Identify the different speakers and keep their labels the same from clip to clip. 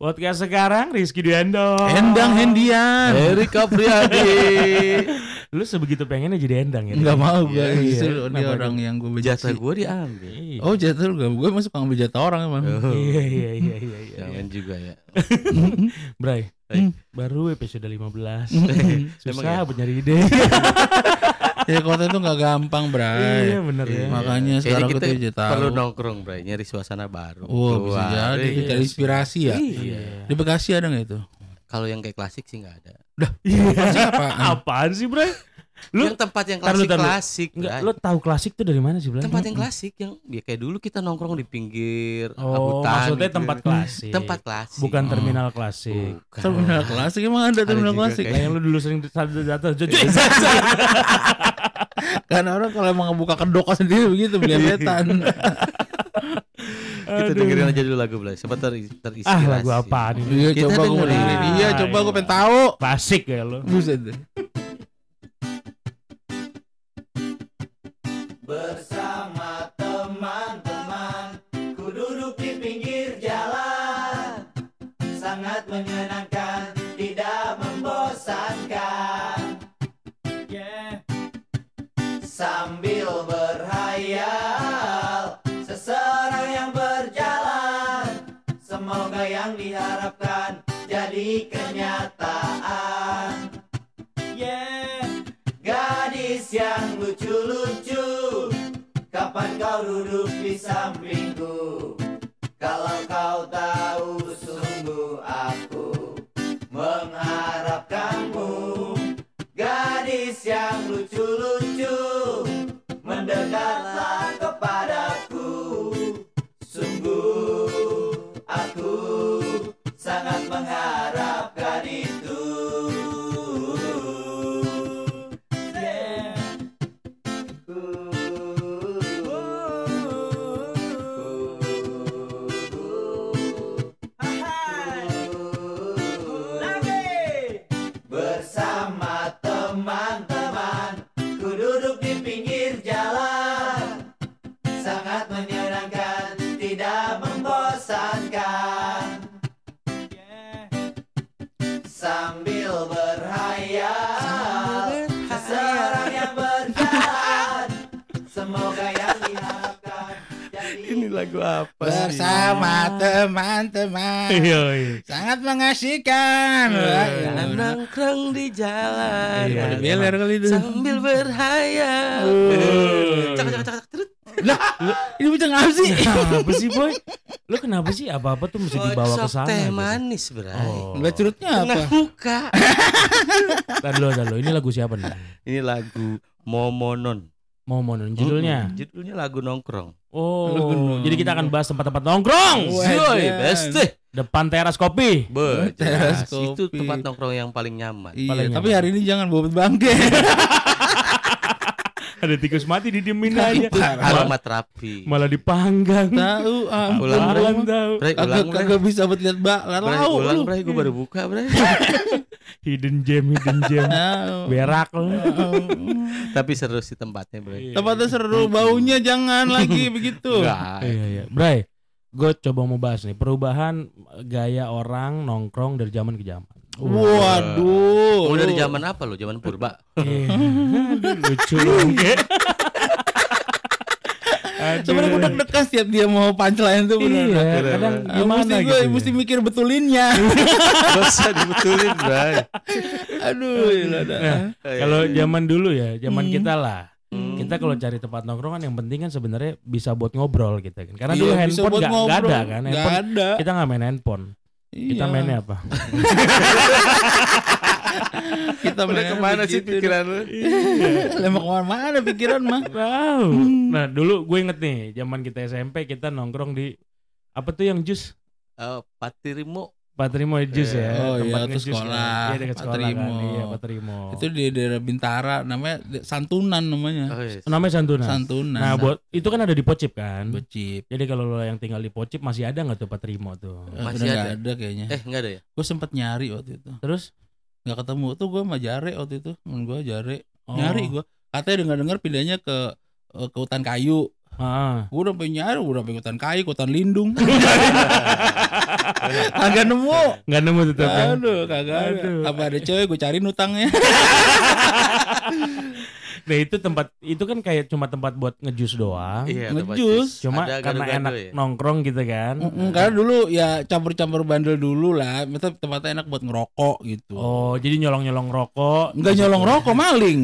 Speaker 1: Podcast sekarang Rizky Duando.
Speaker 2: Endang Hendian.
Speaker 3: Erik
Speaker 1: Iya.
Speaker 3: Apriyadi.
Speaker 1: Lu sebegitu pengennya jadi Endang ya?
Speaker 2: Enggak mau gue
Speaker 3: Iya, iya.
Speaker 2: justru dia
Speaker 1: Kenapa
Speaker 2: orang yang gue benci.
Speaker 3: Jatah gue diambil.
Speaker 1: Iya.
Speaker 2: Oh jatah lu gak? Gue masuk ngambil jatah orang emang.
Speaker 1: Iya iya iya iya. iya.
Speaker 3: Jangan juga ya.
Speaker 1: Bray, Hmm.
Speaker 3: Eh.
Speaker 1: baru episode 15
Speaker 3: Emang
Speaker 1: Susah
Speaker 3: ya?
Speaker 1: buat nyari ide
Speaker 2: Ya kota itu gak
Speaker 1: Iya
Speaker 2: gampang bray.
Speaker 1: bener ya
Speaker 3: Iya.
Speaker 2: Makanya
Speaker 3: Kayaknya
Speaker 2: sekarang
Speaker 3: kita
Speaker 2: kita jatah.
Speaker 3: perlu nongkrong, Bray. Nyari suasana baru.
Speaker 2: Wah bisa
Speaker 3: Keluar.
Speaker 2: jadi
Speaker 3: Iya.
Speaker 2: kita inspirasi ya.
Speaker 3: Iya.
Speaker 2: Di Bekasi ada nggak itu?
Speaker 3: Kalau yang kayak klasik sih nggak ada.
Speaker 1: Iya.
Speaker 2: Apaan?
Speaker 1: Apaan sih Bray? Lu-
Speaker 3: yang tempat yang
Speaker 1: Ntar lu,
Speaker 3: klasik
Speaker 1: ntar lu.
Speaker 3: klasik.
Speaker 1: Enggak,
Speaker 3: Bray.
Speaker 1: lo tahu klasik tuh dari mana sih Bray?
Speaker 3: Iya. tempat yang klasik yang ya kayak dulu kita nongkrong di pinggir
Speaker 1: Oh
Speaker 3: hutan
Speaker 1: maksudnya
Speaker 3: gitu.
Speaker 1: tempat klasik
Speaker 3: tempat klasik Hmm.
Speaker 1: Bukan
Speaker 2: Oh.
Speaker 1: terminal klasik
Speaker 3: Bukan.
Speaker 2: Terminal klasik emang ada terminal
Speaker 3: juga
Speaker 2: klasik.
Speaker 1: Lah yang lu dulu sering jatuh
Speaker 2: Karena orang kalau emang ngebuka kedok sendiri begitu
Speaker 3: Iya.
Speaker 2: beletan.
Speaker 3: kita dengerin Hmm. aja dulu lagu Bray sempat ter terinspirasi
Speaker 1: Ah lagu apaan ini?
Speaker 2: Iya
Speaker 3: Kita
Speaker 2: coba gue mau
Speaker 3: dengerin.
Speaker 2: dengerin. Iya
Speaker 1: Ah,
Speaker 2: coba gue
Speaker 1: iya.
Speaker 2: pengen tahu.
Speaker 1: Klasik ya lo
Speaker 3: Nah.
Speaker 2: Buset deh.
Speaker 4: Bersama teman-teman Ku duduk di pinggir jalan Sangat menyenangkan Tidak membosankan Sambil berhayal Seserang yang berjalan Semoga yang diharapkan Jadi kenyataan Yeah Gadis yang lucu-lucu Kapan kau duduk di sampingku Kalau kau tahu sungguh aku Mengharapkanmu Gadis yang lucu-lucu Mendekatlah kepadaku Sungguh aku sangat mengharapkan itu Yeah. Bersama teman-teman Ku duduk di pinggir jalan Sangat menyenangkan Tidak membosankan Sambil berhayal Seserang yang berjalan Semoga yang diharapkan Jadi
Speaker 3: ini lagu apa sih
Speaker 2: Bersama teman-teman
Speaker 1: Iya iya
Speaker 2: sangat mengasihkan. Wah,
Speaker 3: Yang
Speaker 2: iya, bener.
Speaker 3: Nah, nongkrong di jalan
Speaker 2: Iya, pada beler kali itu.
Speaker 3: sambil berhayal cakak cakak cakak terus
Speaker 2: Ini bocah ngapa sih?
Speaker 1: Kenapa sih boy? Lu kenapa sih apa-apa tuh mesti dibawa ke sana?
Speaker 3: teh
Speaker 1: gitu?
Speaker 3: manis Bray
Speaker 1: Oh.
Speaker 2: Enggak curutnya
Speaker 3: Kena
Speaker 2: apa?
Speaker 3: muka
Speaker 1: Tar dulu, tar dulu. Ini lagu siapa nih?
Speaker 3: ini lagu Momonon
Speaker 1: Mau mau nonton judulnya.
Speaker 3: Mm-mm. judulnya lagu nongkrong
Speaker 2: Lagu
Speaker 1: Oh.
Speaker 2: nongkrong.
Speaker 1: Jadi kita akan bahas tempat-tempat nongkrong.
Speaker 2: Waduh.
Speaker 3: Joy best deh.
Speaker 1: Depan teras kopi.
Speaker 3: Be,
Speaker 2: Teras
Speaker 3: jelas.
Speaker 2: kopi.
Speaker 3: itu tempat nongkrong yang paling nyaman
Speaker 2: Iya,
Speaker 1: Paling
Speaker 2: tapi
Speaker 1: nyaman.
Speaker 2: hari ini jangan bobot bangke.
Speaker 1: Ada tikus mati didiemin
Speaker 3: Nah,
Speaker 1: aja. Malah,
Speaker 3: aroma terapi
Speaker 1: malah dipanggang.
Speaker 3: Nah,
Speaker 2: Tahu ah, ampun.
Speaker 3: Ulang,
Speaker 2: Bray.
Speaker 1: Orang tahu.
Speaker 3: Bray,
Speaker 2: Kagak
Speaker 3: ulang, Bray.
Speaker 2: kagak bisa buat lihat bak
Speaker 3: Bray,
Speaker 2: lalau
Speaker 3: ulang,
Speaker 2: lu.
Speaker 3: Bray. Gue baru buka, Bray.
Speaker 1: Hidden gem, hidden gem.
Speaker 2: Tahu.
Speaker 1: Berak lu.
Speaker 3: Tapi seru sih tempatnya, Bray.
Speaker 2: Tempatnya seru, baunya jangan lagi begitu.
Speaker 3: Enggak.
Speaker 1: Iya iya. Bray, gue coba mau bahas nih perubahan gaya orang nongkrong dari zaman ke zaman.
Speaker 2: Waduh.
Speaker 3: Oh, dari
Speaker 2: lu.
Speaker 3: zaman apa lo? Zaman purba.
Speaker 1: Iya. Aduh, lucu banget. Aduh.
Speaker 2: Sebenarnya gue deg-degan setiap dia mau punchline tuh
Speaker 1: Iya,
Speaker 2: bener.
Speaker 1: kadang
Speaker 2: Ah,
Speaker 1: gimana
Speaker 2: mesti
Speaker 1: gitu.
Speaker 2: gue
Speaker 1: ya.
Speaker 2: mesti mikir betulinnya.
Speaker 3: Bisa dibetulin, Bray.
Speaker 2: Aduh, gila dah.
Speaker 1: Nah,
Speaker 3: Iya,
Speaker 1: kalau zaman dulu ya, zaman
Speaker 2: Hmm.
Speaker 1: kita lah.
Speaker 3: Hmm.
Speaker 1: Kita kalau cari tempat nongkrong kan yang penting kan sebenarnya bisa buat ngobrol gitu kan. Karena
Speaker 2: Iya,
Speaker 1: dulu
Speaker 2: bisa
Speaker 1: handphone
Speaker 2: buat
Speaker 1: nggak nggak
Speaker 2: ngobrol.
Speaker 1: ada kan.
Speaker 2: Nggak
Speaker 1: Handphone,
Speaker 2: ada.
Speaker 1: kita nggak main handphone. Kita ya.
Speaker 2: Iya.
Speaker 1: mainnya apa?
Speaker 2: Kita
Speaker 3: udah
Speaker 2: mainnya
Speaker 3: kemana sih
Speaker 2: begitu.
Speaker 3: pikiran lu?
Speaker 1: Iya.
Speaker 2: Lemah kemana-mana pikiran mah.
Speaker 1: Wow.
Speaker 2: Hmm.
Speaker 1: Nah dulu gue inget nih, zaman kita SMP kita nongkrong di apa tuh yang jus?
Speaker 3: Oh, Patirimo.
Speaker 1: Patrimo jus ya.
Speaker 2: Oh, iya,
Speaker 1: tempat
Speaker 2: itu
Speaker 1: ngejus kan.
Speaker 2: sekolah,
Speaker 1: Iya dekat sekolah
Speaker 2: Patrimo.
Speaker 1: kan. Iya Patrimo.
Speaker 2: Itu di daerah Bintara namanya Santunan namanya.
Speaker 3: Oh, yes.
Speaker 1: Namanya Santunan.
Speaker 2: Santunan.
Speaker 1: Nah buat itu kan ada di Pocip kan.
Speaker 2: becip.
Speaker 1: Jadi kalau lo yang tinggal di Pocip masih ada nggak tuh Patrimo tuh?
Speaker 2: Eh,
Speaker 3: Masih
Speaker 2: udah nggak
Speaker 3: ada?
Speaker 2: ada kayaknya.
Speaker 3: Eh, enggak ada ya?
Speaker 2: Gue sempet nyari waktu itu.
Speaker 1: Terus?
Speaker 2: nggak ketemu tuh gue sama Jare waktu itu temen gue Jare
Speaker 1: Oh.
Speaker 2: nyari gue katanya dengar dengar pindahnya ke eh, ke hutan kayu
Speaker 1: Ah.
Speaker 2: Gue udah pengen nyari, udah pengen ikutan kai, ikutan lindung. Kagak nemu.
Speaker 1: Nggak nemu tetap kan?
Speaker 2: Aduh, kagak ada.
Speaker 1: Aduh. Iya,
Speaker 2: Apa ada cewek gue cariin utangnya.
Speaker 1: Nah itu tempat itu kan kayak cuma tempat buat ngejus doang.
Speaker 3: Iya, tempat
Speaker 2: Ngejus.
Speaker 3: jus.
Speaker 1: Cuma
Speaker 3: Ada
Speaker 1: karena
Speaker 3: gado-gado
Speaker 1: enak
Speaker 3: ya?
Speaker 1: nongkrong gitu kan.
Speaker 2: Mm, Karena dulu ya campur-campur bandel dulu lah. Maksudnya tempatnya enak buat ngerokok gitu.
Speaker 1: Oh jadi nyolong-nyolong rokok.
Speaker 2: Enggak nyolong rokok maling.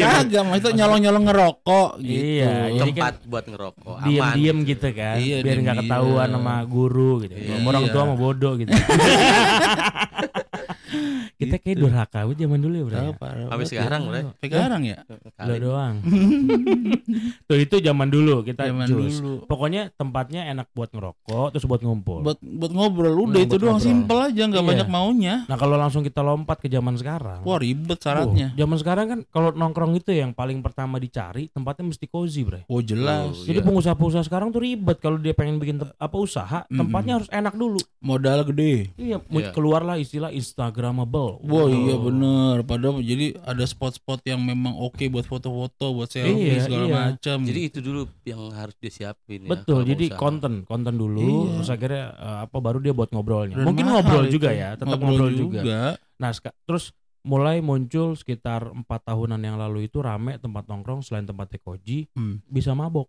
Speaker 2: Kagak, maksudnya nyolong-nyolong ngerokok gitu.
Speaker 1: Iya, jadi kan
Speaker 3: tempat buat ngerokok aman
Speaker 1: diem-diem gitu kan.
Speaker 2: Iya,
Speaker 1: biar nggak
Speaker 2: diem-diem.
Speaker 1: ketahuan sama guru gitu.
Speaker 2: Iya.
Speaker 1: Sama Orang tua mau bodoh gitu. Kita kayak durhaka banget zaman dulu ya, Bro. ya? Kan?
Speaker 2: Parah, parah.
Speaker 3: habis sekarang udah
Speaker 2: Iya.
Speaker 1: Iya.
Speaker 2: sekarang ya?
Speaker 1: Lo doang. Tuh itu zaman dulu kita
Speaker 2: Zaman
Speaker 1: jus.
Speaker 2: dulu.
Speaker 1: Pokoknya tempatnya enak buat ngerokok terus buat ngumpul.
Speaker 2: Buat buat ngobrol udah
Speaker 1: Hmm,
Speaker 2: itu
Speaker 1: buat
Speaker 2: doang
Speaker 1: ngobrol.
Speaker 2: simpel aja nggak
Speaker 1: Iya.
Speaker 2: banyak maunya.
Speaker 1: Nah kalau langsung kita lompat ke zaman sekarang.
Speaker 2: Wah ribet syaratnya.
Speaker 1: Wah, zaman sekarang kan kalau nongkrong itu yang paling pertama dicari tempatnya mesti cozy, Bre.
Speaker 2: Oh jelas.
Speaker 3: Oh,
Speaker 1: Jadi
Speaker 3: Iya.
Speaker 1: pengusaha-pengusaha sekarang tuh ribet kalau dia pengen bikin tem- apa usaha, tempatnya harus enak dulu.
Speaker 2: Modal gede.
Speaker 1: Iya, mu-
Speaker 3: Iya.
Speaker 1: keluarlah istilah instagramable.
Speaker 2: Wah
Speaker 1: Wow.
Speaker 2: iya bener. Padahal jadi ada spot-spot yang memang oke buat foto-foto, buat selfie
Speaker 1: Iya,
Speaker 2: segala
Speaker 1: iya.
Speaker 2: macam.
Speaker 3: jadi itu dulu yang harus disiapin ya,
Speaker 1: Betul,
Speaker 3: kalau
Speaker 1: jadi
Speaker 3: usaha.
Speaker 1: konten, konten dulu,
Speaker 2: Iya.
Speaker 1: terus akhirnya eh, apa baru dia buat ngobrolnya.
Speaker 2: Dan
Speaker 1: Mungkin
Speaker 2: mahal
Speaker 1: ngobrol
Speaker 2: itu.
Speaker 1: juga ya, tetap ngobrol, juga.
Speaker 2: juga.
Speaker 1: Nah, seka- terus mulai muncul sekitar empat tahunan yang lalu itu rame tempat nongkrong selain tempat tekoji
Speaker 2: Hmm.
Speaker 1: bisa mabok.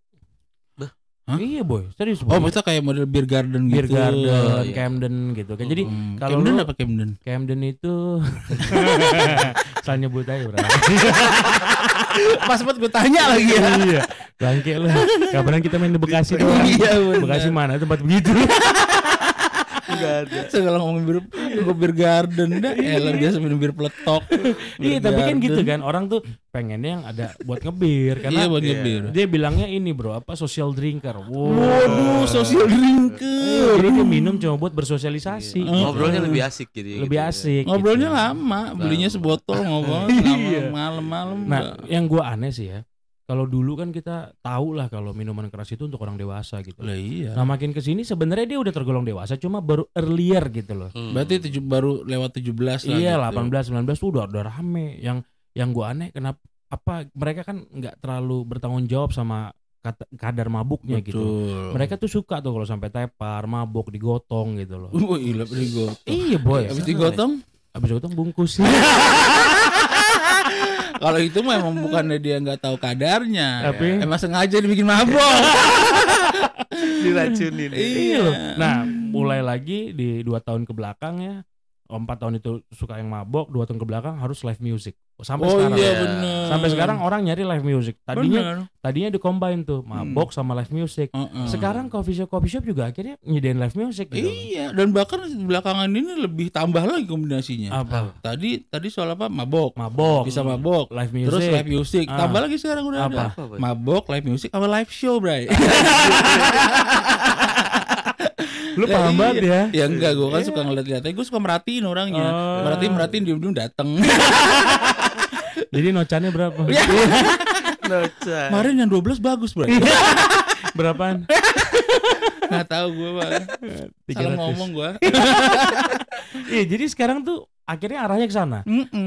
Speaker 3: Bah.
Speaker 2: Hah?
Speaker 1: Iya boy, serius boy.
Speaker 2: Oh, maksudnya kayak model beer garden
Speaker 1: Beer
Speaker 2: gitu.
Speaker 1: Garden,
Speaker 3: Iya.
Speaker 1: Camden gitu kan. Jadi
Speaker 2: Hmm.
Speaker 1: kalau
Speaker 2: Camden
Speaker 1: lu-
Speaker 2: apa Camden?
Speaker 1: Camden itu salah nyebut aja bro.
Speaker 2: Pas buat gue tanya lagi ya.
Speaker 1: iya, bangke lah. Kabaran kita main di Bekasi doang.
Speaker 2: Iya, bener.
Speaker 1: Bekasi mana tempat begitu?
Speaker 2: Enggak ada. Segala ngomongin bir, gue bir garden dah. Elah biasa minum bir peletok.
Speaker 1: Iya, tapi kan gitu kan. Orang tuh pengennya yang ada buat ngebir
Speaker 2: Karena iya,
Speaker 1: karena
Speaker 2: buat ngebir.
Speaker 1: dia bilangnya ini bro apa social drinker. Wow.
Speaker 2: Waduh, social drinker.
Speaker 1: Jadi dia minum cuma buat bersosialisasi.
Speaker 3: Iya. ngobrolnya lebih asik jadi
Speaker 1: lebih
Speaker 3: gitu ya.
Speaker 1: asik. gitu.
Speaker 2: Ngobrolnya lama, belinya sebotol ngobrol lama malam-malam.
Speaker 1: Iya. Nah, yang gua aneh sih ya. Kalau dulu kan kita tahu lah kalau minuman keras itu untuk orang dewasa gitu.
Speaker 2: lah iya.
Speaker 1: Nah makin kesini sebenarnya dia udah tergolong dewasa, cuma baru earlier gitu loh.
Speaker 3: Hmm.
Speaker 2: Berarti tujuh, baru lewat 17 lah.
Speaker 3: ya.
Speaker 1: Iya, 18,
Speaker 2: gitu.
Speaker 1: 19 tuh udah udah rame. Yang yang gua aneh kenapa apa mereka kan nggak terlalu bertanggung jawab sama kata- kadar mabuknya gitu.
Speaker 2: Betul.
Speaker 1: Mereka tuh suka tuh kalau sampai tepar, mabuk, digotong gitu loh.
Speaker 2: Wah, gila digotong.
Speaker 1: iya boy.
Speaker 2: Habis digotong,
Speaker 1: Abis digotong bungkus.
Speaker 2: kalau itu mah emang bukannya dia nggak tahu kadarnya.
Speaker 1: Tapi-
Speaker 2: Emang sengaja dibikin mabok.
Speaker 3: diracunin
Speaker 1: Iya loh. Nah, mulai lagi di dua tahun ke belakang ya. oh, Empat tahun itu suka yang mabok, dua tahun ke belakang harus live music. Sampai
Speaker 2: oh
Speaker 1: sekarang.
Speaker 2: iya
Speaker 3: ya.
Speaker 2: benar.
Speaker 1: Sampai sekarang orang nyari live music. Tadinya
Speaker 2: Bener.
Speaker 1: tadinya di combine tuh, mabok
Speaker 2: Hmm.
Speaker 1: sama live music.
Speaker 2: Heeh.
Speaker 1: Sekarang coffee shop coffee shop juga akhirnya nyediain live music gitu.
Speaker 2: Iya, dan bahkan belakangan ini lebih tambah lagi kombinasinya.
Speaker 1: Apa?
Speaker 2: Tadi tadi soal apa? Mabok.
Speaker 1: Ah. Mabok.
Speaker 2: Bisa mabok.
Speaker 1: live music.
Speaker 2: Terus live music.
Speaker 1: Ah.
Speaker 2: Tambah lagi sekarang udah
Speaker 1: Apa?
Speaker 2: ada.
Speaker 3: Apa, Boy?
Speaker 2: Mabok, live music, sama live show, Bray.
Speaker 1: Lu paham
Speaker 2: Lah,
Speaker 1: banget ya.
Speaker 2: iya. Ya enggak, gue kan suka ngeliat-liatin. Gue suka merhatiin orangnya.
Speaker 1: Oh. Iya.
Speaker 2: Merhatiin-merhatiin, diem-diem dateng.
Speaker 1: Jadi nocannya berapa?
Speaker 2: Iya.
Speaker 1: Iya,
Speaker 3: Noca.
Speaker 2: Kemarin yang 12 bagus, Bray.
Speaker 1: Berapaan?
Speaker 2: Nggak tahu gue, Bang. Salah
Speaker 1: 300.
Speaker 2: ngomong gue.
Speaker 1: Iya, jadi sekarang tuh akhirnya arahnya ke sana.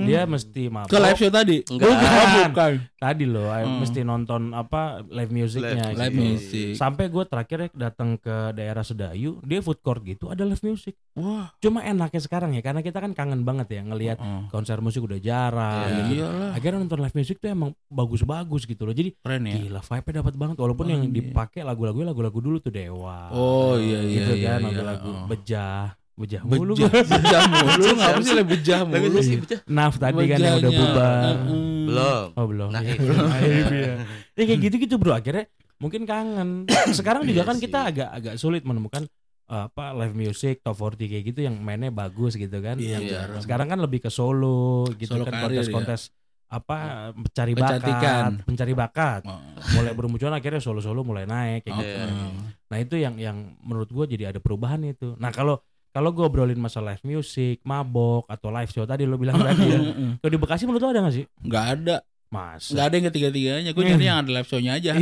Speaker 1: Dia mesti mabok.
Speaker 2: Hmm. Ke live show tadi?
Speaker 3: Enggak.
Speaker 2: Bukan. bukan.
Speaker 1: Tadi loh, I mesti nonton apa live musicnya.
Speaker 3: Live-
Speaker 2: Hmm. Live
Speaker 1: gitu.
Speaker 2: music.
Speaker 1: Sampai gue terakhir ya datang ke daerah Sedayu, dia food court gitu ada live music.
Speaker 2: Wah.
Speaker 1: Cuma enaknya sekarang ya, karena kita kan kangen banget ya ngelihat
Speaker 2: Heeh.
Speaker 1: konser musik udah jarang.
Speaker 3: Iya.
Speaker 1: gitu.
Speaker 2: Ya. Iyalah,
Speaker 1: Akhirnya nonton live music tuh emang bagus-bagus gitu loh. Jadi
Speaker 2: keren ya.
Speaker 1: gila vibe-nya dapat banget walaupun yang dipakai lagu-lagunya lagu-lagu dulu tuh Dewa.
Speaker 2: Iya. Oh iya iya
Speaker 1: gitu
Speaker 2: iya.
Speaker 1: kan
Speaker 2: iya.
Speaker 1: lagu-lagu
Speaker 2: Oh.
Speaker 1: bejah, bejah, mulu.
Speaker 2: Bejah, bejah mulu, ngapa sih lah bejah
Speaker 3: Tapi
Speaker 2: mulu?
Speaker 3: sih, Beca?
Speaker 1: Naf tadi kan yang udah
Speaker 2: Bejahnya.
Speaker 1: bubar.
Speaker 2: Mm-mm.
Speaker 3: belum
Speaker 1: Oh belum.
Speaker 3: Nah,
Speaker 2: iya.
Speaker 1: ya.
Speaker 3: itu.
Speaker 1: Naif, ya. Ya, kayak gitu-gitu bro akhirnya mungkin kangen. Sekarang juga
Speaker 3: Iya
Speaker 1: kan
Speaker 3: sih.
Speaker 1: kita agak agak sulit menemukan eh, apa live music top 40 kayak gitu yang mainnya bagus gitu kan.
Speaker 2: Iya,
Speaker 1: Yang-
Speaker 2: jarang.
Speaker 1: Sekarang kan lebih ke solo gitu
Speaker 2: Solo
Speaker 1: kan
Speaker 2: karir, ya.
Speaker 1: kontes-kontes apa pencari
Speaker 2: Kecantikan.
Speaker 1: bakat, pencari bakat.
Speaker 2: Oh,
Speaker 1: Mulai bermunculan akhirnya solo-solo mulai naik kayak
Speaker 2: oh,
Speaker 1: gitu.
Speaker 3: Iya.
Speaker 2: oh.
Speaker 1: Nah, itu yang yang menurut gua jadi ada perubahan itu. Nah, kalau kalau gue obrolin masalah live music, mabok atau live show tadi lo bilang tadi ya.
Speaker 2: Mm-mm.
Speaker 1: Kalau di Bekasi menurut lo ada gak sih?
Speaker 2: Nggak ada,
Speaker 1: Mas.
Speaker 2: nggak ada yang ketiga-tiganya.
Speaker 1: Iya.
Speaker 2: Gue nyari yang ada live show-nya aja.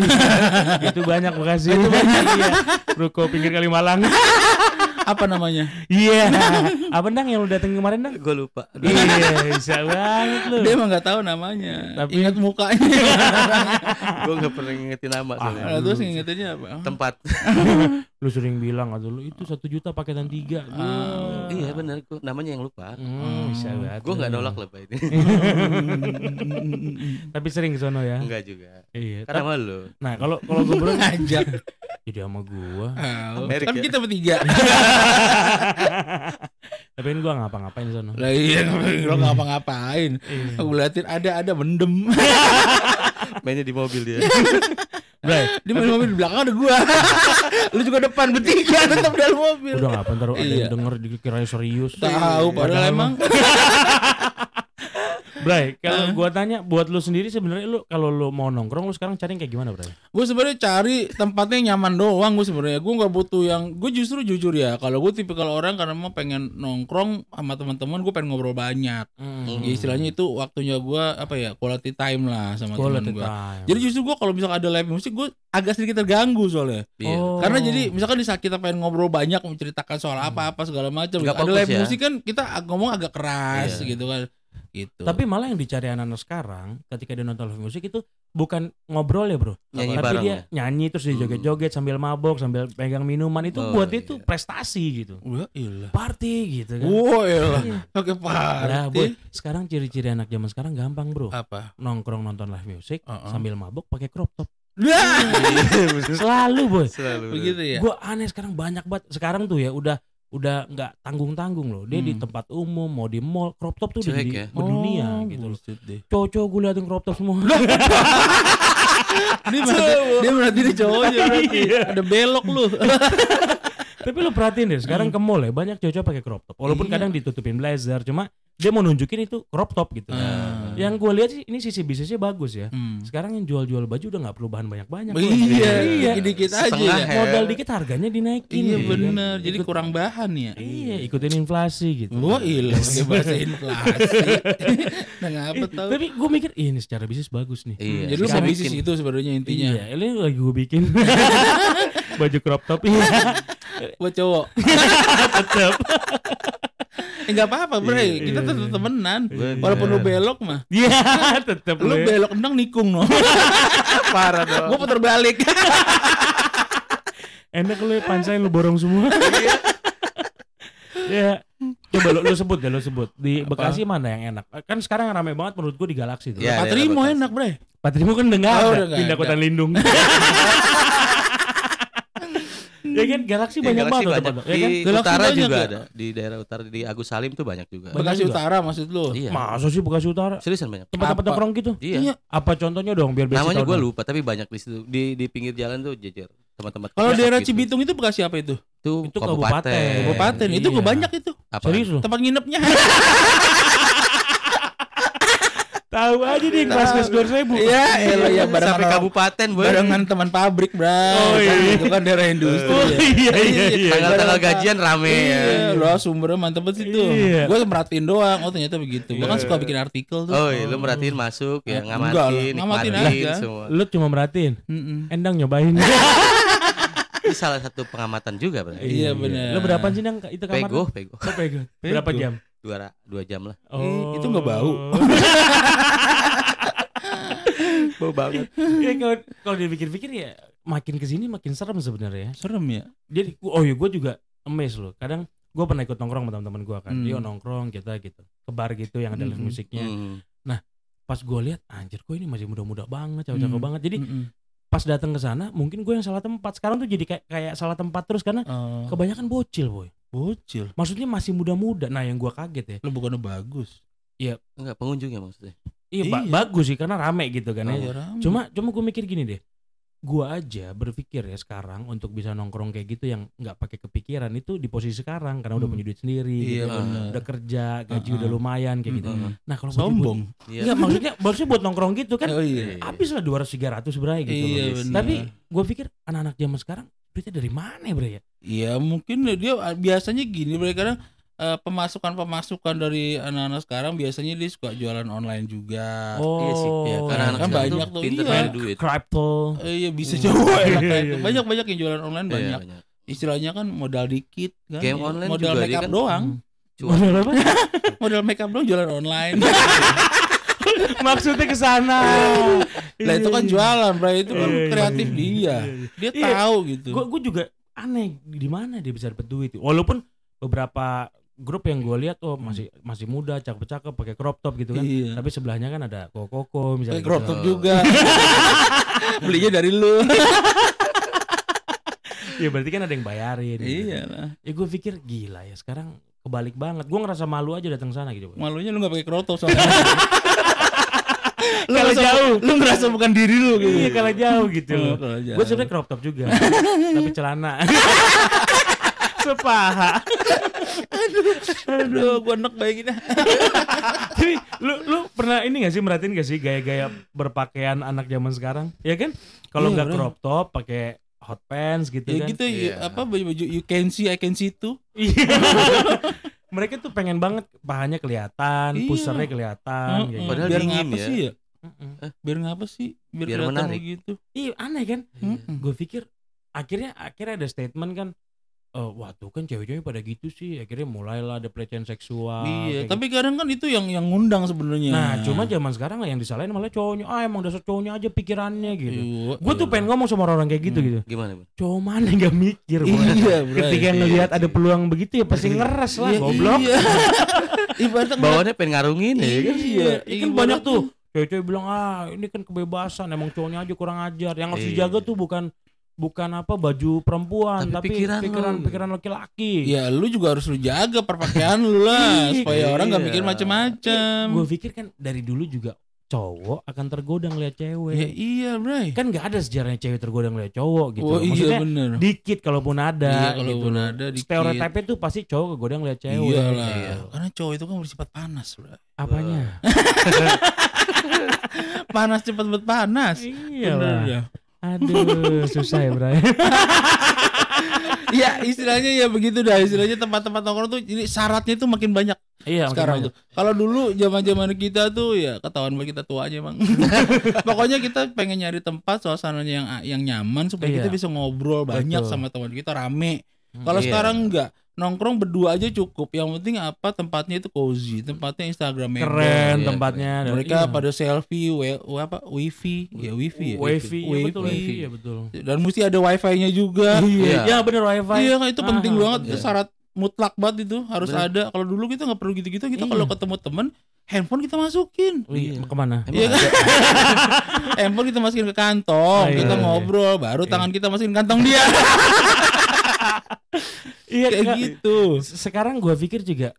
Speaker 1: itu banyak makasih. Iya. Ruko pinggir Kalimalang.
Speaker 2: apa namanya?
Speaker 1: Iya. Apa Dang yang lu dateng kemarin Dang?
Speaker 3: Gue lupa. Aduh,
Speaker 1: Iya, bisa banget lu.
Speaker 2: Dia emang nggak tahu namanya.
Speaker 1: Tapi-
Speaker 2: Ingat mukanya.
Speaker 3: Gue gak pernah ngingetin
Speaker 1: Ah,
Speaker 3: nama
Speaker 1: Iya.
Speaker 3: soalnya. Hmm.
Speaker 2: Nah, terus ngingetinnya apa?
Speaker 3: Tempat.
Speaker 1: Lu sering bilang atau lu itu satu juta paketan tiga.
Speaker 2: Ah,
Speaker 1: Wah.
Speaker 3: iya bener gue namanya yang lupa.
Speaker 1: Hmm, bisa
Speaker 2: Hmm.
Speaker 1: banget.
Speaker 3: Gue nggak
Speaker 1: lu.
Speaker 3: nolak lah Pak, ini.
Speaker 1: Iya. Tapi sering ke sono ya.
Speaker 3: Enggak juga.
Speaker 1: Iya.
Speaker 3: Karena
Speaker 1: tap-
Speaker 3: sama lu.
Speaker 1: Nah, kalau kalau gue
Speaker 2: Lu
Speaker 1: berdua
Speaker 2: ngajak.
Speaker 1: jadi sama gua.
Speaker 2: Tahu.
Speaker 3: Merik
Speaker 2: Kan
Speaker 3: ya.
Speaker 2: kita bertiga.
Speaker 1: Tapi kan gua ngapa-ngapain di sono.
Speaker 2: Lah iya lo ngapa-ngapain.
Speaker 1: Iya.
Speaker 2: Aku liatin ada ada mendem.
Speaker 3: Mainnya di mobil dia.
Speaker 1: Bray,
Speaker 2: Di mobil mobil di belakang ada gua. Lu juga depan bertiga tetap dalam mobil.
Speaker 1: udah Iya, ngapa ntar ada
Speaker 2: Iya.
Speaker 1: yang denger dikira serius.
Speaker 2: Tahu padahal emang
Speaker 1: Bray, kalau gua tanya buat lu sendiri sebenarnya lu kalau lu mau nongkrong lu sekarang cari yang kayak gimana, Bray?
Speaker 2: gue sebenarnya cari tempatnya yang nyaman doang gue sebenarnya gue nggak butuh yang gue justru jujur ya kalau gue tipikal orang karena emang pengen nongkrong sama teman-teman gue pengen ngobrol banyak
Speaker 1: Hmm.
Speaker 2: Ya, istilahnya itu waktunya gue apa ya quality time lah sama teman
Speaker 1: Quality
Speaker 2: gue
Speaker 1: time.
Speaker 2: jadi justru gue kalau misalkan ada live musik gue agak sedikit terganggu soalnya
Speaker 3: Iya.
Speaker 1: Oh.
Speaker 2: Karena jadi misalkan di saat kita pengen ngobrol banyak menceritakan soal apa-apa segala macam.
Speaker 3: Hmm. Nggak
Speaker 2: Ada
Speaker 3: fokus
Speaker 2: live
Speaker 3: ya.
Speaker 2: musik kan kita ag- ngomong agak keras
Speaker 3: Iya.
Speaker 2: gitu kan. Gitu.
Speaker 1: Tapi malah yang dicari anak-anak sekarang ketika dia nonton live musik itu bukan ngobrol ya bro,
Speaker 2: Iya,
Speaker 3: Nyanyi
Speaker 1: tapi
Speaker 3: bareng.
Speaker 1: dia nyanyi terus dia joget-joget sambil mabok sambil pegang minuman itu
Speaker 3: Oh,
Speaker 1: buat dia itu
Speaker 3: iya.
Speaker 1: prestasi gitu,
Speaker 2: wah ilah.
Speaker 1: party gitu kan.
Speaker 2: Wah ilah.
Speaker 1: Iya.
Speaker 2: Oke Oh, party. Ah.
Speaker 1: Nah, boy, sekarang ciri-ciri anak zaman sekarang gampang bro,
Speaker 2: Apa?
Speaker 1: nongkrong nonton live music
Speaker 2: Uh-uh.
Speaker 1: sambil mabok pakai crop top
Speaker 2: Dah.
Speaker 1: selalu boy.
Speaker 3: Selalu.
Speaker 2: Begitu Nah, ya.
Speaker 1: Gue aneh sekarang banyak banget sekarang tuh ya udah udah nggak tanggung tanggung loh dia di
Speaker 2: Hmm.
Speaker 1: tempat umum mau di mall crop top tuh udah
Speaker 3: Cuek
Speaker 1: jadi
Speaker 3: ya?
Speaker 1: mendunia
Speaker 2: Oh,
Speaker 1: gitu loh
Speaker 2: bullshit deh.
Speaker 1: cowok gue liatin crop top semua
Speaker 2: Dia berarti dia berarti dia cowoknya berarti.
Speaker 1: Iya.
Speaker 2: Ada belok lu.
Speaker 1: Tapi lu perhatiin deh, sekarang ke mall ya banyak cowok-cowok pakai crop top. Walaupun
Speaker 2: Hmm. Iya.
Speaker 1: kadang ditutupin blazer, cuma dia mau nunjukin itu crop top gitu.
Speaker 2: Ah.
Speaker 1: Yang gue lihat sih ini sisi bisnisnya bagus ya.
Speaker 2: Hmm.
Speaker 1: Sekarang yang jual-jual baju udah nggak perlu bahan banyak-banyak. loh.
Speaker 2: Iya,
Speaker 1: Iya.
Speaker 2: dikit-dikit aja
Speaker 3: Setengah
Speaker 2: ya.
Speaker 3: ya.
Speaker 1: Modal dikit harganya dinaikin.
Speaker 2: Iya
Speaker 1: gitu kan.
Speaker 2: bener, jadi
Speaker 1: Ikut-
Speaker 2: kurang bahan ya.
Speaker 1: Iya, ikutin inflasi gitu.
Speaker 2: Wah ilah, pakai bahasa inflasi. Nah ngapa
Speaker 1: Ih,
Speaker 2: tahu?
Speaker 1: Tapi gue mikir "Ih, ini secara bisnis bagus nih.
Speaker 3: Iya.
Speaker 2: Jadi lu mau
Speaker 1: Sekarang
Speaker 2: bisnis itu sebenarnya intinya
Speaker 1: Iya, ini lagi gue bikin baju crop top. Iya,
Speaker 2: buat cowok.
Speaker 1: tetap.
Speaker 2: Eh nggak apa-apa, Bre.
Speaker 1: Iya,
Speaker 2: Kita
Speaker 1: iya,
Speaker 2: tetap
Speaker 1: iya.
Speaker 2: temenan.
Speaker 3: Bener.
Speaker 2: Walaupun lu belok mah,
Speaker 1: Iya, tetap.
Speaker 2: lu
Speaker 1: Le.
Speaker 2: belok endang nikung no.
Speaker 3: parah dong.
Speaker 2: Gua putar balik.
Speaker 1: Enak lu pansai lu borong semua. ya. Coba lu, lu sebut deh, lu sebut. Di Bekasi mana yang enak? Kan sekarang rame banget menurut gua di Galaxy tuh.
Speaker 3: Iya.
Speaker 2: Patrimo
Speaker 3: Iya,
Speaker 2: enak, Bre.
Speaker 1: Patrimu kan dengar
Speaker 2: Oh, udah
Speaker 1: ada,
Speaker 2: nggak
Speaker 1: pindah
Speaker 2: ada.
Speaker 1: kota lindung. ya kan Galaxy
Speaker 3: Ya,
Speaker 1: banyak
Speaker 3: Galaxy
Speaker 1: banget
Speaker 3: banyak.
Speaker 1: tempat. Ya
Speaker 3: Di
Speaker 1: kan?
Speaker 2: Galaxy
Speaker 3: utara
Speaker 2: banyak
Speaker 3: juga
Speaker 2: ya?
Speaker 3: ada. Di daerah utara di Agus Salim tuh banyak juga.
Speaker 1: Banyak
Speaker 2: Bekasi
Speaker 1: juga.
Speaker 2: Utara maksud lu.
Speaker 3: Iya.
Speaker 1: Masa sih Bekasi Utara?
Speaker 3: Seriusan banyak.
Speaker 1: Tempat-tempat
Speaker 2: Apa?
Speaker 1: nongkrong gitu.
Speaker 3: Iya.
Speaker 1: Apa contohnya dong biar biasa
Speaker 3: Namanya
Speaker 1: tahu
Speaker 3: gue
Speaker 1: dong.
Speaker 3: lupa tapi banyak di situ. Di di pinggir jalan tuh jejer tempat-tempat.
Speaker 2: Kalau
Speaker 3: kiosk
Speaker 2: daerah
Speaker 3: gitu.
Speaker 2: Cibitung itu Bekasi apa itu?
Speaker 3: itu,
Speaker 1: Itu kabupaten.
Speaker 2: Kabupaten. Itu
Speaker 1: Iya.
Speaker 2: gua banyak itu.
Speaker 3: Apa? Iya,
Speaker 1: Serius lu?
Speaker 2: Tempat nginepnya.
Speaker 1: Tahu aja nih kelas-kelas 2000.
Speaker 2: Iya, elah ya barang
Speaker 3: Sampai kabupaten, Boy.
Speaker 2: barengan teman pabrik, Bro.
Speaker 1: Oh, iya.
Speaker 2: Itu kan daerah industri.
Speaker 1: Oh,
Speaker 2: ya.
Speaker 1: iya, iya, iya.
Speaker 3: Tanggal-tanggal gajian rame ya.
Speaker 2: Iya, lo sumbernya mantep banget situ.
Speaker 1: Iya.
Speaker 2: Gue merhatiin doang. Oh ternyata begitu. Gue kan suka bikin artikel tuh.
Speaker 3: Oh, iya, lu merhatiin masuk ya,
Speaker 2: Enggak
Speaker 3: ngamatin,
Speaker 2: lah, ngamatin
Speaker 3: nikmatin
Speaker 2: aja.
Speaker 3: semua.
Speaker 1: Lu cuma merhatiin.
Speaker 3: Oh.
Speaker 2: Mm-mm.
Speaker 1: Endang nyobain.
Speaker 3: Itu salah satu pengamatan juga, Bro.
Speaker 2: Iya
Speaker 1: Lu
Speaker 2: bener.
Speaker 1: berapa sih Dang itu kamar?
Speaker 3: Pego, pego.
Speaker 1: Lu pego. Berapa
Speaker 2: Pego.
Speaker 1: jam?
Speaker 3: Dua, ra- dua jam lah.
Speaker 2: Eh, itu
Speaker 1: Oh.
Speaker 2: nggak bau.
Speaker 3: Bau banget.
Speaker 1: ya,
Speaker 2: Hmm.
Speaker 1: kalau kalau dipikir-pikir ya makin kesini makin serem sebenarnya.
Speaker 2: Serem ya.
Speaker 1: Jadi oh ya gue juga amazed loh. Kadang gue pernah ikut nongkrong sama teman-teman gue kan.
Speaker 2: Hmm.
Speaker 1: Dia nongkrong kita gitu ke bar gitu yang ada live
Speaker 2: Hmm.
Speaker 1: musiknya. Pas gue lihat anjir kok ini masih muda-muda banget, cakep-cakep
Speaker 2: Hmm.
Speaker 1: banget. Jadi
Speaker 2: Mm-mm.
Speaker 1: pas datang ke sana mungkin gue yang salah tempat. Sekarang tuh jadi kayak kayak salah tempat terus karena
Speaker 2: Oh,
Speaker 1: kebanyakan bocil boy.
Speaker 2: bocil.
Speaker 1: Maksudnya masih muda-muda. Nah yang gue kaget ya.
Speaker 2: Lo bukannya bagus.
Speaker 3: Enggak, pengunjungnya maksudnya.
Speaker 1: Iya, ba-
Speaker 2: Iya.
Speaker 1: bagus sih karena rame gitu kan. ya.
Speaker 2: Iya, rame.
Speaker 1: Cuma cuma gue mikir gini deh. Gua aja berpikir ya sekarang untuk bisa nongkrong kayak gitu yang nggak pakai kepikiran itu di posisi sekarang karena udah
Speaker 2: Hmm.
Speaker 1: punya duit sendiri,
Speaker 2: iya
Speaker 1: gitu.
Speaker 3: Ah,
Speaker 2: bener.
Speaker 1: udah kerja, gaji
Speaker 2: Uh-uh.
Speaker 1: udah lumayan kayak gitu.
Speaker 2: Mm-mm.
Speaker 1: Nah, kalau buat ibu-
Speaker 2: Sombong.
Speaker 1: Iya, maksudnya maksudnya buat nongkrong gitu kan
Speaker 2: Oh iya.
Speaker 1: habis lah 200 300 bray gitu.
Speaker 2: Iya,
Speaker 1: loh.
Speaker 2: bener.
Speaker 1: Tapi gue pikir anak-anak zaman sekarang duitnya dari mana ya, bray ya?
Speaker 2: Iya mungkin dia biasanya gini. Mereka kadang eh, pemasukan-pemasukan dari anak-anak sekarang biasanya dia suka jualan online juga.
Speaker 1: Oh,
Speaker 3: iya sih. Iya, karena
Speaker 2: Ah, iya.
Speaker 3: anak
Speaker 2: Kan
Speaker 3: sekarang
Speaker 2: banyak tuh,
Speaker 3: pinter
Speaker 2: iya.
Speaker 3: main duit.
Speaker 1: crypto.
Speaker 2: Eh, Iya bisa
Speaker 1: Hmm.
Speaker 2: jauh
Speaker 1: Iya,
Speaker 2: enak
Speaker 1: iya,
Speaker 2: kayak
Speaker 1: iya.
Speaker 2: itu. Banyak-banyak yang jualan online
Speaker 3: Iya,
Speaker 2: banyak.
Speaker 3: banyak.
Speaker 2: istilahnya kan modal dikit kan ya.
Speaker 3: Game online
Speaker 2: modal
Speaker 3: juga, dia
Speaker 2: make up
Speaker 3: kan-
Speaker 2: doang
Speaker 1: Hmm.
Speaker 3: Cuma-
Speaker 1: Modal apa?
Speaker 2: modal make up doang jualan online
Speaker 1: Maksudnya ke sana.
Speaker 2: lah itu kan jualan bro itu kan
Speaker 1: Iya, iya,
Speaker 2: kreatif
Speaker 1: iya.
Speaker 2: dia
Speaker 1: Iya, iya.
Speaker 2: dia
Speaker 1: Iya.
Speaker 2: tahu gitu
Speaker 1: Gue juga aneh di mana dia bisa dapat duit. Walaupun beberapa grup yang gue lihat oh masih masih muda, cakep-cakep, pakai crop top gitu kan.
Speaker 2: Hmm. iya
Speaker 1: Tapi sebelahnya kan ada koko-koko misalnya.
Speaker 2: Kayak crop
Speaker 1: gitu.
Speaker 2: top juga belinya dari lu
Speaker 1: Ya berarti kan ada yang bayarin. gitu.
Speaker 2: iya lah
Speaker 1: Ya gue pikir gila ya sekarang kebalik banget. Gue ngerasa malu aja datang sana gitu. Bang.
Speaker 2: malunya lu nggak pakai crop top soalnya lu ngerasa, lu ngerasa bukan diri lu gitu
Speaker 1: Iya kalau jauh gitu.
Speaker 2: Oh, kalau jauh.
Speaker 1: Gue sebenarnya crop top juga, tapi celana. Sepaha.
Speaker 2: aduh gua enek bayanginnya
Speaker 1: Tapi lu lu pernah ini gak sih merhatiin gak sih gaya-gaya berpakaian anak zaman sekarang? Ya kan? Kalau
Speaker 2: Iya,
Speaker 1: nggak
Speaker 2: bro.
Speaker 1: crop top pakai hot pants gitu
Speaker 2: ya
Speaker 1: kan.
Speaker 2: gitu ya,
Speaker 3: Iya.
Speaker 2: apa baju-baju you can see I can see itu
Speaker 1: Iya. Mereka tuh pengen banget pahanya kelihatan,
Speaker 2: Iya.
Speaker 1: pusernya kelihatan
Speaker 2: Heeh.
Speaker 1: kayak gitu.
Speaker 3: Padahal
Speaker 2: biar
Speaker 3: dingin
Speaker 2: ngapa
Speaker 3: ya.
Speaker 2: sih ya
Speaker 1: Mm-mm.
Speaker 2: biar ngapa sih biar,
Speaker 3: Biar
Speaker 2: kelihatan
Speaker 3: menarik.
Speaker 2: begitu
Speaker 1: Iya, aneh kan?
Speaker 2: Mm-mm.
Speaker 1: Gue pikir akhirnya akhirnya ada statement kan eh wah tuh kan cewek-cewek pada gitu sih akhirnya mulailah ada pelecehan seksual Ah,
Speaker 2: iya
Speaker 1: kayak gitu.
Speaker 2: tapi Iya. kadang kan itu yang yang ngundang sebenarnya
Speaker 1: Nah, cuma zaman sekarang lah yang disalahin malah cowoknya. Ah, emang dasar cowoknya aja pikirannya gitu.
Speaker 2: Iya,
Speaker 1: Gue tuh
Speaker 2: iya.
Speaker 1: pengen ngomong sama orang kayak gitu
Speaker 2: Hmm.
Speaker 1: gitu.
Speaker 3: Gimana bro?
Speaker 1: Cowok mana nggak mikir, Bro.
Speaker 2: Iya, bro.
Speaker 1: Ketika
Speaker 3: Iya,
Speaker 1: ngelihat
Speaker 3: iya.
Speaker 1: ada peluang begitu ya pasti ngeres lah,
Speaker 2: Iya,
Speaker 1: goblok.
Speaker 2: Iya. Ibaratnya kan, ngeliat-
Speaker 3: Bawaannya pengen ngarungin ya kan?
Speaker 1: Iya,
Speaker 2: Iya,
Speaker 1: kan
Speaker 2: ibarat
Speaker 1: banyak tuh cewek-cewek bilang ah ini kan kebebasan, emang cowoknya aja kurang ajar. Yang harus
Speaker 3: Iya.
Speaker 1: dijaga tuh bukan bukan apa baju perempuan,
Speaker 3: Tapi
Speaker 1: tapi,
Speaker 3: pikiran lo.
Speaker 1: pikiran pikiran laki-laki.
Speaker 2: Ya lu juga harus lu jaga perpakaian lu lah
Speaker 1: Iya.
Speaker 2: supaya orang nggak
Speaker 3: Iya.
Speaker 2: mikir macam-macam.
Speaker 1: Gue pikir kan dari dulu juga cowok akan tergoda ngelihat cewek.
Speaker 2: Ya iya, Bray.
Speaker 1: Kan nggak ada sejarahnya cewek tergoda ngelihat cowok gitu.
Speaker 2: oh
Speaker 1: Maksudnya,
Speaker 2: iya bener
Speaker 1: dikit kalaupun ada
Speaker 2: Iya, kalaupun
Speaker 1: gitu.
Speaker 2: ada, dikit.
Speaker 1: stereotipnya tuh pasti cowok kegoda ngeliat cewek
Speaker 2: Iyalah.
Speaker 1: gitu.
Speaker 2: Karena cowok itu kan bersifat panas, Bray.
Speaker 1: apanya
Speaker 2: Panas cepat cepat panas.
Speaker 1: iya
Speaker 2: Bener
Speaker 1: lah.
Speaker 2: ya.
Speaker 1: aduh susah ya Bray
Speaker 2: Ya istilahnya ya begitu dah istilahnya tempat-tempat nongkrong tuh jadi syaratnya tuh makin banyak
Speaker 1: iya makin
Speaker 2: sekarang
Speaker 1: banyak.
Speaker 2: tuh. Kalau dulu zaman-zaman kita tuh ya ketahuan banget kita tua aja, Bang. Pokoknya kita pengen nyari tempat suasananya yang yang nyaman supaya
Speaker 1: Iya.
Speaker 2: kita bisa ngobrol banyak
Speaker 1: Betul. Hmm,
Speaker 2: sama teman kita rame. Kalau
Speaker 3: Iya.
Speaker 2: sekarang enggak nongkrong berdua aja cukup. Yang penting apa tempatnya itu cozy, tempatnya Instagram
Speaker 1: keren
Speaker 3: Iya,
Speaker 1: tempatnya dan-
Speaker 2: Mereka
Speaker 1: iya.
Speaker 2: pada selfie, we, we- apa wifi, ya wifi ya.
Speaker 1: wifi iya betul
Speaker 2: Wifi.
Speaker 1: wifi, iya betul
Speaker 2: Dan mesti ada wifi-nya juga.
Speaker 1: iya
Speaker 3: Iya.
Speaker 1: ya bener wifi
Speaker 2: Iya kan itu penting
Speaker 1: Ah,
Speaker 2: banget
Speaker 1: betul.
Speaker 2: itu syarat mutlak banget itu harus
Speaker 3: Bener.
Speaker 2: ada. Kalau dulu kita nggak perlu gitu-gitu kita
Speaker 1: Iya.
Speaker 2: kalau ketemu temen handphone kita masukin.
Speaker 1: Wih,
Speaker 3: Iya.
Speaker 1: kemana
Speaker 3: Emang
Speaker 2: Iya
Speaker 3: ada?
Speaker 2: handphone kita masukin ke kantong,
Speaker 1: Ah, iya,
Speaker 2: kita
Speaker 1: iya.
Speaker 2: ngobrol, baru
Speaker 1: Iya.
Speaker 2: tangan kita masukin kantong dia
Speaker 1: iya
Speaker 2: kayak
Speaker 1: nggak-
Speaker 2: gitu.
Speaker 1: se- sekarang gua pikir juga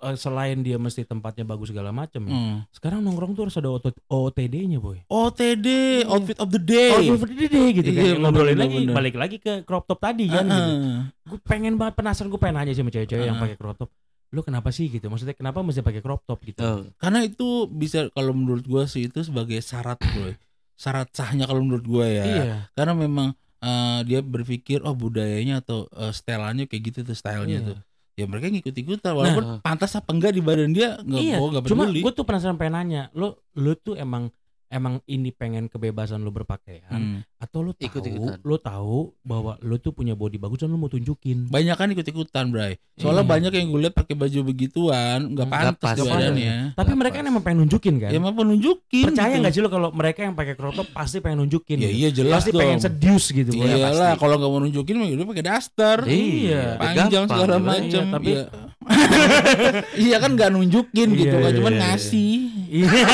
Speaker 1: eh, selain dia mesti tempatnya bagus segala macam ya.
Speaker 2: Hmm.
Speaker 1: sekarang nongkrong tuh harus ada OTD-nya boy
Speaker 2: OTD,
Speaker 1: Hmm.
Speaker 2: outfit of the day.
Speaker 1: OTD gitu kan
Speaker 2: Iya,
Speaker 1: ngobrolin
Speaker 2: bener,
Speaker 1: lagi
Speaker 2: bener.
Speaker 1: balik lagi ke crop top tadi kan gitu.
Speaker 2: Heeh.
Speaker 1: gue pengen banget penasaran gue pengen nanya sih sama cewek-cewek yang
Speaker 2: Ah.
Speaker 1: pakai crop top lu kenapa sih gitu maksudnya kenapa mesti pakai crop top gitu
Speaker 3: Oh,
Speaker 2: Karena itu bisa kalau menurut gua sih itu sebagai syarat, Bro. Syarat sahnya kalau menurut gua ya.
Speaker 1: iya
Speaker 2: Karena memang eh, dia berpikir oh budayanya atau eh, stelannya kayak gitu tuh stylenya
Speaker 1: Iya.
Speaker 2: tuh. Ya mereka ngikut-ikutan walaupun
Speaker 3: Nah.
Speaker 2: pantas apa enggak di badan dia enggak
Speaker 1: iya
Speaker 2: gua enggak
Speaker 1: cuma
Speaker 2: peduli.
Speaker 1: gue tuh penasaran pengen nanya lu lu tuh emang emang ini pengen kebebasan lu berpakaian
Speaker 2: Hmm.
Speaker 1: atau lu tahu
Speaker 3: Ikut-ikutan.
Speaker 1: lu tahu bahwa lu tuh punya body bagus dan lu mau tunjukin
Speaker 2: Banyak kan ikut-ikutan, Bray. Soalnya
Speaker 1: Iya.
Speaker 2: banyak yang gue lihat pakai baju begituan, enggak
Speaker 3: Nggak
Speaker 2: pantas
Speaker 3: pas
Speaker 2: di
Speaker 1: ya.
Speaker 2: badannya.
Speaker 1: tapi
Speaker 3: Nggak
Speaker 1: mereka
Speaker 3: pas.
Speaker 1: kan emang pengen nunjukin kan
Speaker 2: Ya mah penunjukin.
Speaker 1: percaya
Speaker 2: gitu.
Speaker 1: nggak sih lu kalau mereka yang pakai crop top pasti pengen nunjukin
Speaker 2: Ya
Speaker 1: gitu?
Speaker 2: iya jelas
Speaker 1: pasti
Speaker 2: dong.
Speaker 1: pengen seduce gitu
Speaker 3: Iya,
Speaker 1: Boy.
Speaker 2: Iyalah
Speaker 3: pasti.
Speaker 2: kalau nggak mau nunjukin mah ya udah pakai daster.
Speaker 1: Iya.
Speaker 2: panjang
Speaker 3: Gampang,
Speaker 2: segala
Speaker 3: iya,
Speaker 2: macam
Speaker 1: iya, tapi-
Speaker 2: iya, iya kan nggak nunjukin gitu
Speaker 1: Iya,
Speaker 2: kan
Speaker 1: iya,
Speaker 2: cuman
Speaker 3: iya,
Speaker 2: ngasih
Speaker 1: Iya.
Speaker 2: Iya.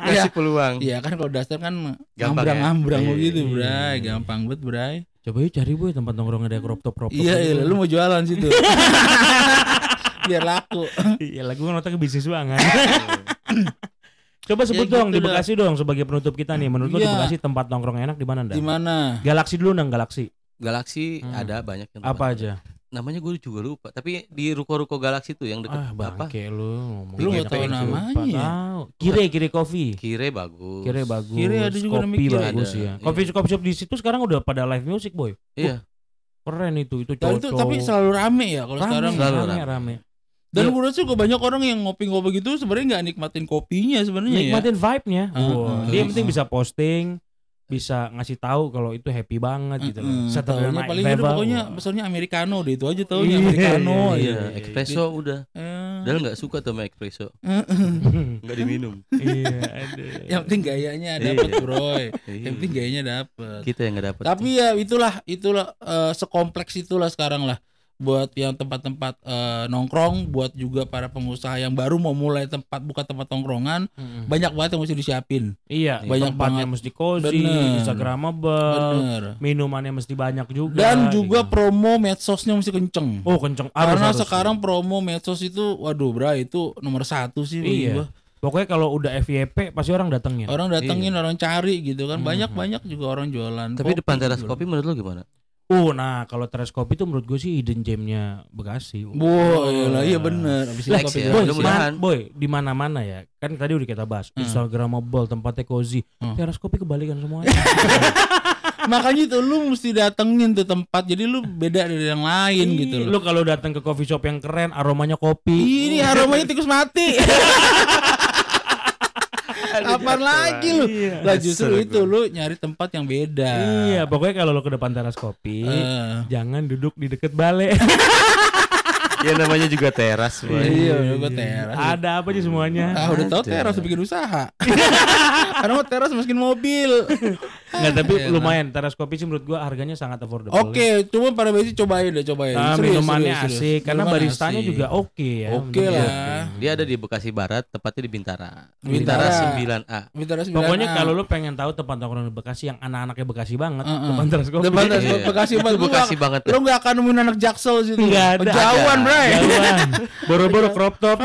Speaker 3: Kasih peluang.
Speaker 2: iya kan kalau dasar kan
Speaker 3: ya?
Speaker 2: ngambrang-ngambrang
Speaker 3: Iya,
Speaker 2: begitu
Speaker 1: iya,
Speaker 2: bray
Speaker 1: iya.
Speaker 2: gampang banget bray
Speaker 1: coba yuk cari boy tempat nongkrong ada crop top crop top
Speaker 2: iya iya
Speaker 1: gitu.
Speaker 2: lu mau jualan situ biar laku
Speaker 1: Iya lah gue nonton ke bisnis banget Coba sebut
Speaker 2: Iya. Ya,
Speaker 1: dong
Speaker 2: gitu
Speaker 1: di
Speaker 2: dah.
Speaker 1: Bekasi dong sebagai penutup kita nih Menurut lu di
Speaker 2: Iya.
Speaker 1: Bekasi tempat nongkrong enak di mana Nda?
Speaker 2: di mana
Speaker 1: Galaksi dulu nang Galaksi
Speaker 3: Galaksi
Speaker 1: Hmm.
Speaker 3: ada banyak yang tempat.
Speaker 1: Apa aja?
Speaker 3: Namanya gue juga lupa. Tapi di ruko-ruko Galaksi tuh yang deket
Speaker 1: Ah
Speaker 3: apa?
Speaker 1: bangke lu ngomong
Speaker 2: Lu
Speaker 1: banyak
Speaker 2: nggak tahu
Speaker 1: yang
Speaker 2: namanya
Speaker 1: lupa.
Speaker 2: ya?
Speaker 1: Tahu. Kire Kire Coffee
Speaker 3: Kire bagus.
Speaker 1: Kire bagus
Speaker 2: Kire ada juga namanya
Speaker 1: Kopi
Speaker 2: Kire.
Speaker 1: bagus
Speaker 3: Ada,
Speaker 1: ya
Speaker 3: iya.
Speaker 1: Kopi shop shop di situ sekarang udah pada live music boy
Speaker 3: Iya.
Speaker 1: Keren itu itu
Speaker 2: Tapi
Speaker 1: cowok
Speaker 2: itu tapi selalu rame ya kalau
Speaker 1: Rame,
Speaker 2: sekarang
Speaker 3: Selalu
Speaker 1: rame,
Speaker 3: rame.
Speaker 1: rame.
Speaker 2: dan gue rasa juga banyak orang yang ngopi-ngopi gitu sebenarnya nggak nikmatin kopinya sebenarnya ya
Speaker 1: Nikmatin vibe-nya
Speaker 2: Ah,
Speaker 1: Wah,
Speaker 2: ah,
Speaker 1: Dia yang
Speaker 2: ah.
Speaker 1: penting bisa posting bisa ngasih tahu kalau itu happy banget gitu loh.
Speaker 2: Heeh,
Speaker 1: Saturday
Speaker 2: taunya
Speaker 1: Night
Speaker 2: paling udah
Speaker 1: Fever.
Speaker 2: pokoknya pesannya americano deh itu aja
Speaker 1: Iya,
Speaker 2: taunya americano
Speaker 1: Oh,
Speaker 2: aja.
Speaker 1: iya,
Speaker 3: iya,
Speaker 1: iya.
Speaker 3: espresso udah.
Speaker 2: Eh,
Speaker 3: Padahal nggak suka tuh sama espresso. Nggak diminum.
Speaker 1: iya, aduh.
Speaker 2: yang penting gayanya dapet
Speaker 1: Iya.
Speaker 2: broy yang penting gayanya dapet
Speaker 3: Iya. kita yang nggak dapat.
Speaker 2: Tapi ya itulah itulah eh, sekompleks itulah sekarang lah buat yang tempat-tempat eh, nongkrong, buat juga para pengusaha yang baru mau mulai tempat buka tempat nongkrongan,
Speaker 1: Mm-mm.
Speaker 2: banyak banget yang mesti disiapin.
Speaker 1: Iya,
Speaker 2: banyak
Speaker 1: banyak tempatnya
Speaker 2: banget.
Speaker 1: mesti cozy,
Speaker 2: Bener.
Speaker 1: instagramable,
Speaker 2: Bener.
Speaker 1: minumannya mesti banyak juga.
Speaker 2: Dan
Speaker 1: Eh, ya,
Speaker 2: juga
Speaker 1: gitu.
Speaker 2: promo medsosnya mesti kenceng.
Speaker 1: oh kenceng harus,
Speaker 2: Karena
Speaker 1: harus.
Speaker 2: sekarang promo medsos itu, waduh bra itu nomor satu sih. bagi
Speaker 1: Iya.
Speaker 2: gua.
Speaker 1: pokoknya kalau udah FYP pasti orang datengin.
Speaker 2: Orang datengin, orang cari gitu
Speaker 1: Mm-hmm.
Speaker 2: kan. Banyak-banyak juga orang jualan.
Speaker 3: Tapi depan teras
Speaker 2: gitu.
Speaker 3: kopi menurut lo gimana?
Speaker 1: Oh, nah kalau Trash Kopi itu menurut gue sih hidden gemnya Bekasi.
Speaker 2: Wah, iyalah, iya bener. Abis itu
Speaker 3: Flex
Speaker 2: kopi
Speaker 3: ya,
Speaker 2: juga. Iya.
Speaker 1: Boy,
Speaker 3: mudah-mudahan.
Speaker 1: man- boy di mana-mana ya. Kan tadi udah kita bahas
Speaker 2: Hmm.
Speaker 1: Instagramable, tempatnya cozy.
Speaker 2: Hmm.
Speaker 1: Teras kopi kebalikan semuanya.
Speaker 2: Makanya itu lu mesti datengin tuh tempat. Jadi lu beda dari yang lain gitu loh. Iya.
Speaker 1: Lu kalau datang ke coffee shop yang keren, aromanya kopi.
Speaker 2: Ini aromanya tikus mati. Apaan lagi lu? Lah justru
Speaker 3: Kesel
Speaker 2: Iya. itu lu nyari tempat yang beda.
Speaker 1: Iya, pokoknya kalau lu ke depan teras kopi,
Speaker 2: Eh,
Speaker 1: jangan duduk di deket balai.
Speaker 3: Ya namanya juga teras,
Speaker 2: iya, udah gua teras.
Speaker 1: Ada apa sih semuanya?
Speaker 2: Ah, udah tau
Speaker 3: Ada.
Speaker 2: teras bikin usaha. Karena mau teras masukin mobil.
Speaker 1: Enggak, tapi
Speaker 2: Iya,
Speaker 1: lumayan teras kopi sih menurut gua harganya sangat affordable.
Speaker 2: Oke, cuma para besi cobain deh, cobain.
Speaker 1: Ah,
Speaker 2: Serius,
Speaker 1: minumannya
Speaker 2: serius,
Speaker 1: asik
Speaker 2: serius.
Speaker 1: karena
Speaker 2: Minuman
Speaker 1: baristanya
Speaker 2: asik.
Speaker 1: juga oke ya.
Speaker 2: Oke
Speaker 1: menurut gua.
Speaker 2: lah.
Speaker 3: Dia ada di Bekasi Barat, tepatnya di Bintara.
Speaker 2: Bintara.
Speaker 3: Bintara 9A.
Speaker 2: Bintara sembilan
Speaker 1: Pokoknya
Speaker 2: A.
Speaker 1: kalau lu pengen tahu tempat nongkrong di Bekasi yang anak-anaknya Bekasi banget,
Speaker 2: Heeh.
Speaker 1: depan teras kopi.
Speaker 2: depan teras
Speaker 3: Iya.
Speaker 2: kopi Bekasi
Speaker 3: Itu
Speaker 2: banget. Lu
Speaker 3: Bekasi
Speaker 2: nggak-
Speaker 3: banget.
Speaker 2: Lu nggak akan nemuin anak jaksel situ.
Speaker 1: Nggak ada.
Speaker 2: Jauhan, Bray.
Speaker 1: Jauhan. Boro-boro crop top.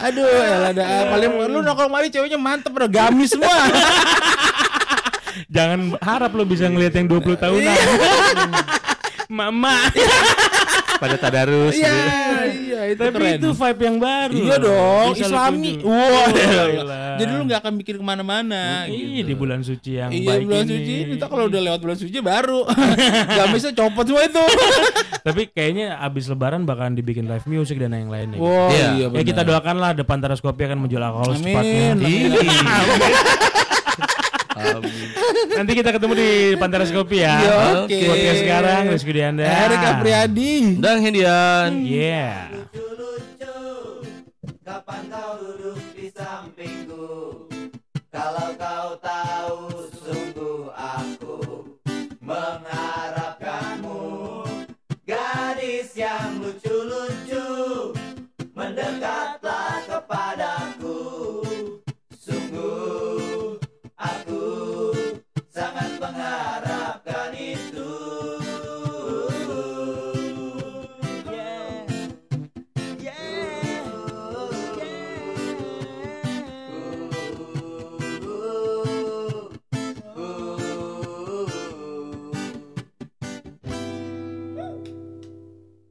Speaker 2: Aduh, ya ada paling lu nongkrong mari ceweknya mantep udah gamis semua.
Speaker 1: Jangan harap lu bisa ngelihat yang 20
Speaker 2: Iya.
Speaker 1: tahunan. Mama.
Speaker 3: Pada Tadarus.
Speaker 2: Iya,
Speaker 3: gitu.
Speaker 2: iya itu
Speaker 1: Tapi
Speaker 2: keren.
Speaker 1: itu vibe yang baru.
Speaker 2: iya dong,
Speaker 1: Bisa lu Iya,
Speaker 2: Islami.
Speaker 1: kunjungi.
Speaker 2: Wah,
Speaker 1: Gila.
Speaker 2: jadi lu nggak akan mikir kemana-mana.
Speaker 1: Iya
Speaker 2: gitu.
Speaker 1: di bulan suci yang
Speaker 2: Iya
Speaker 1: baik
Speaker 2: bulan
Speaker 1: ini.
Speaker 2: suci, kita kalau udah lewat bulan suci baru gamisnya copot semua itu.
Speaker 1: Tapi kayaknya abis lebaran bakalan dibikin live music dan yang lainnya.
Speaker 2: Wah,
Speaker 3: Iya.
Speaker 2: iya
Speaker 1: Ya
Speaker 2: benar.
Speaker 1: kita doakanlah depan teras kopi akan menjual alkohol
Speaker 2: Amin.
Speaker 1: secepatnya. Iya.
Speaker 2: Amin.
Speaker 3: Amin.
Speaker 1: Nanti kita ketemu di depan teras kopi ya.
Speaker 2: Iya,
Speaker 3: Oke.
Speaker 2: Oke.
Speaker 1: Podcast sekarang Rizky Dianda.
Speaker 2: Erik Apriyadi.
Speaker 3: Dan Hendian.
Speaker 1: Yeah.
Speaker 4: Lucu-lucu Kapan kau duduk di sampingku Kalau kau tahu sungguh aku Mengharapkanmu Gadis yang lucu-lucu Mendekat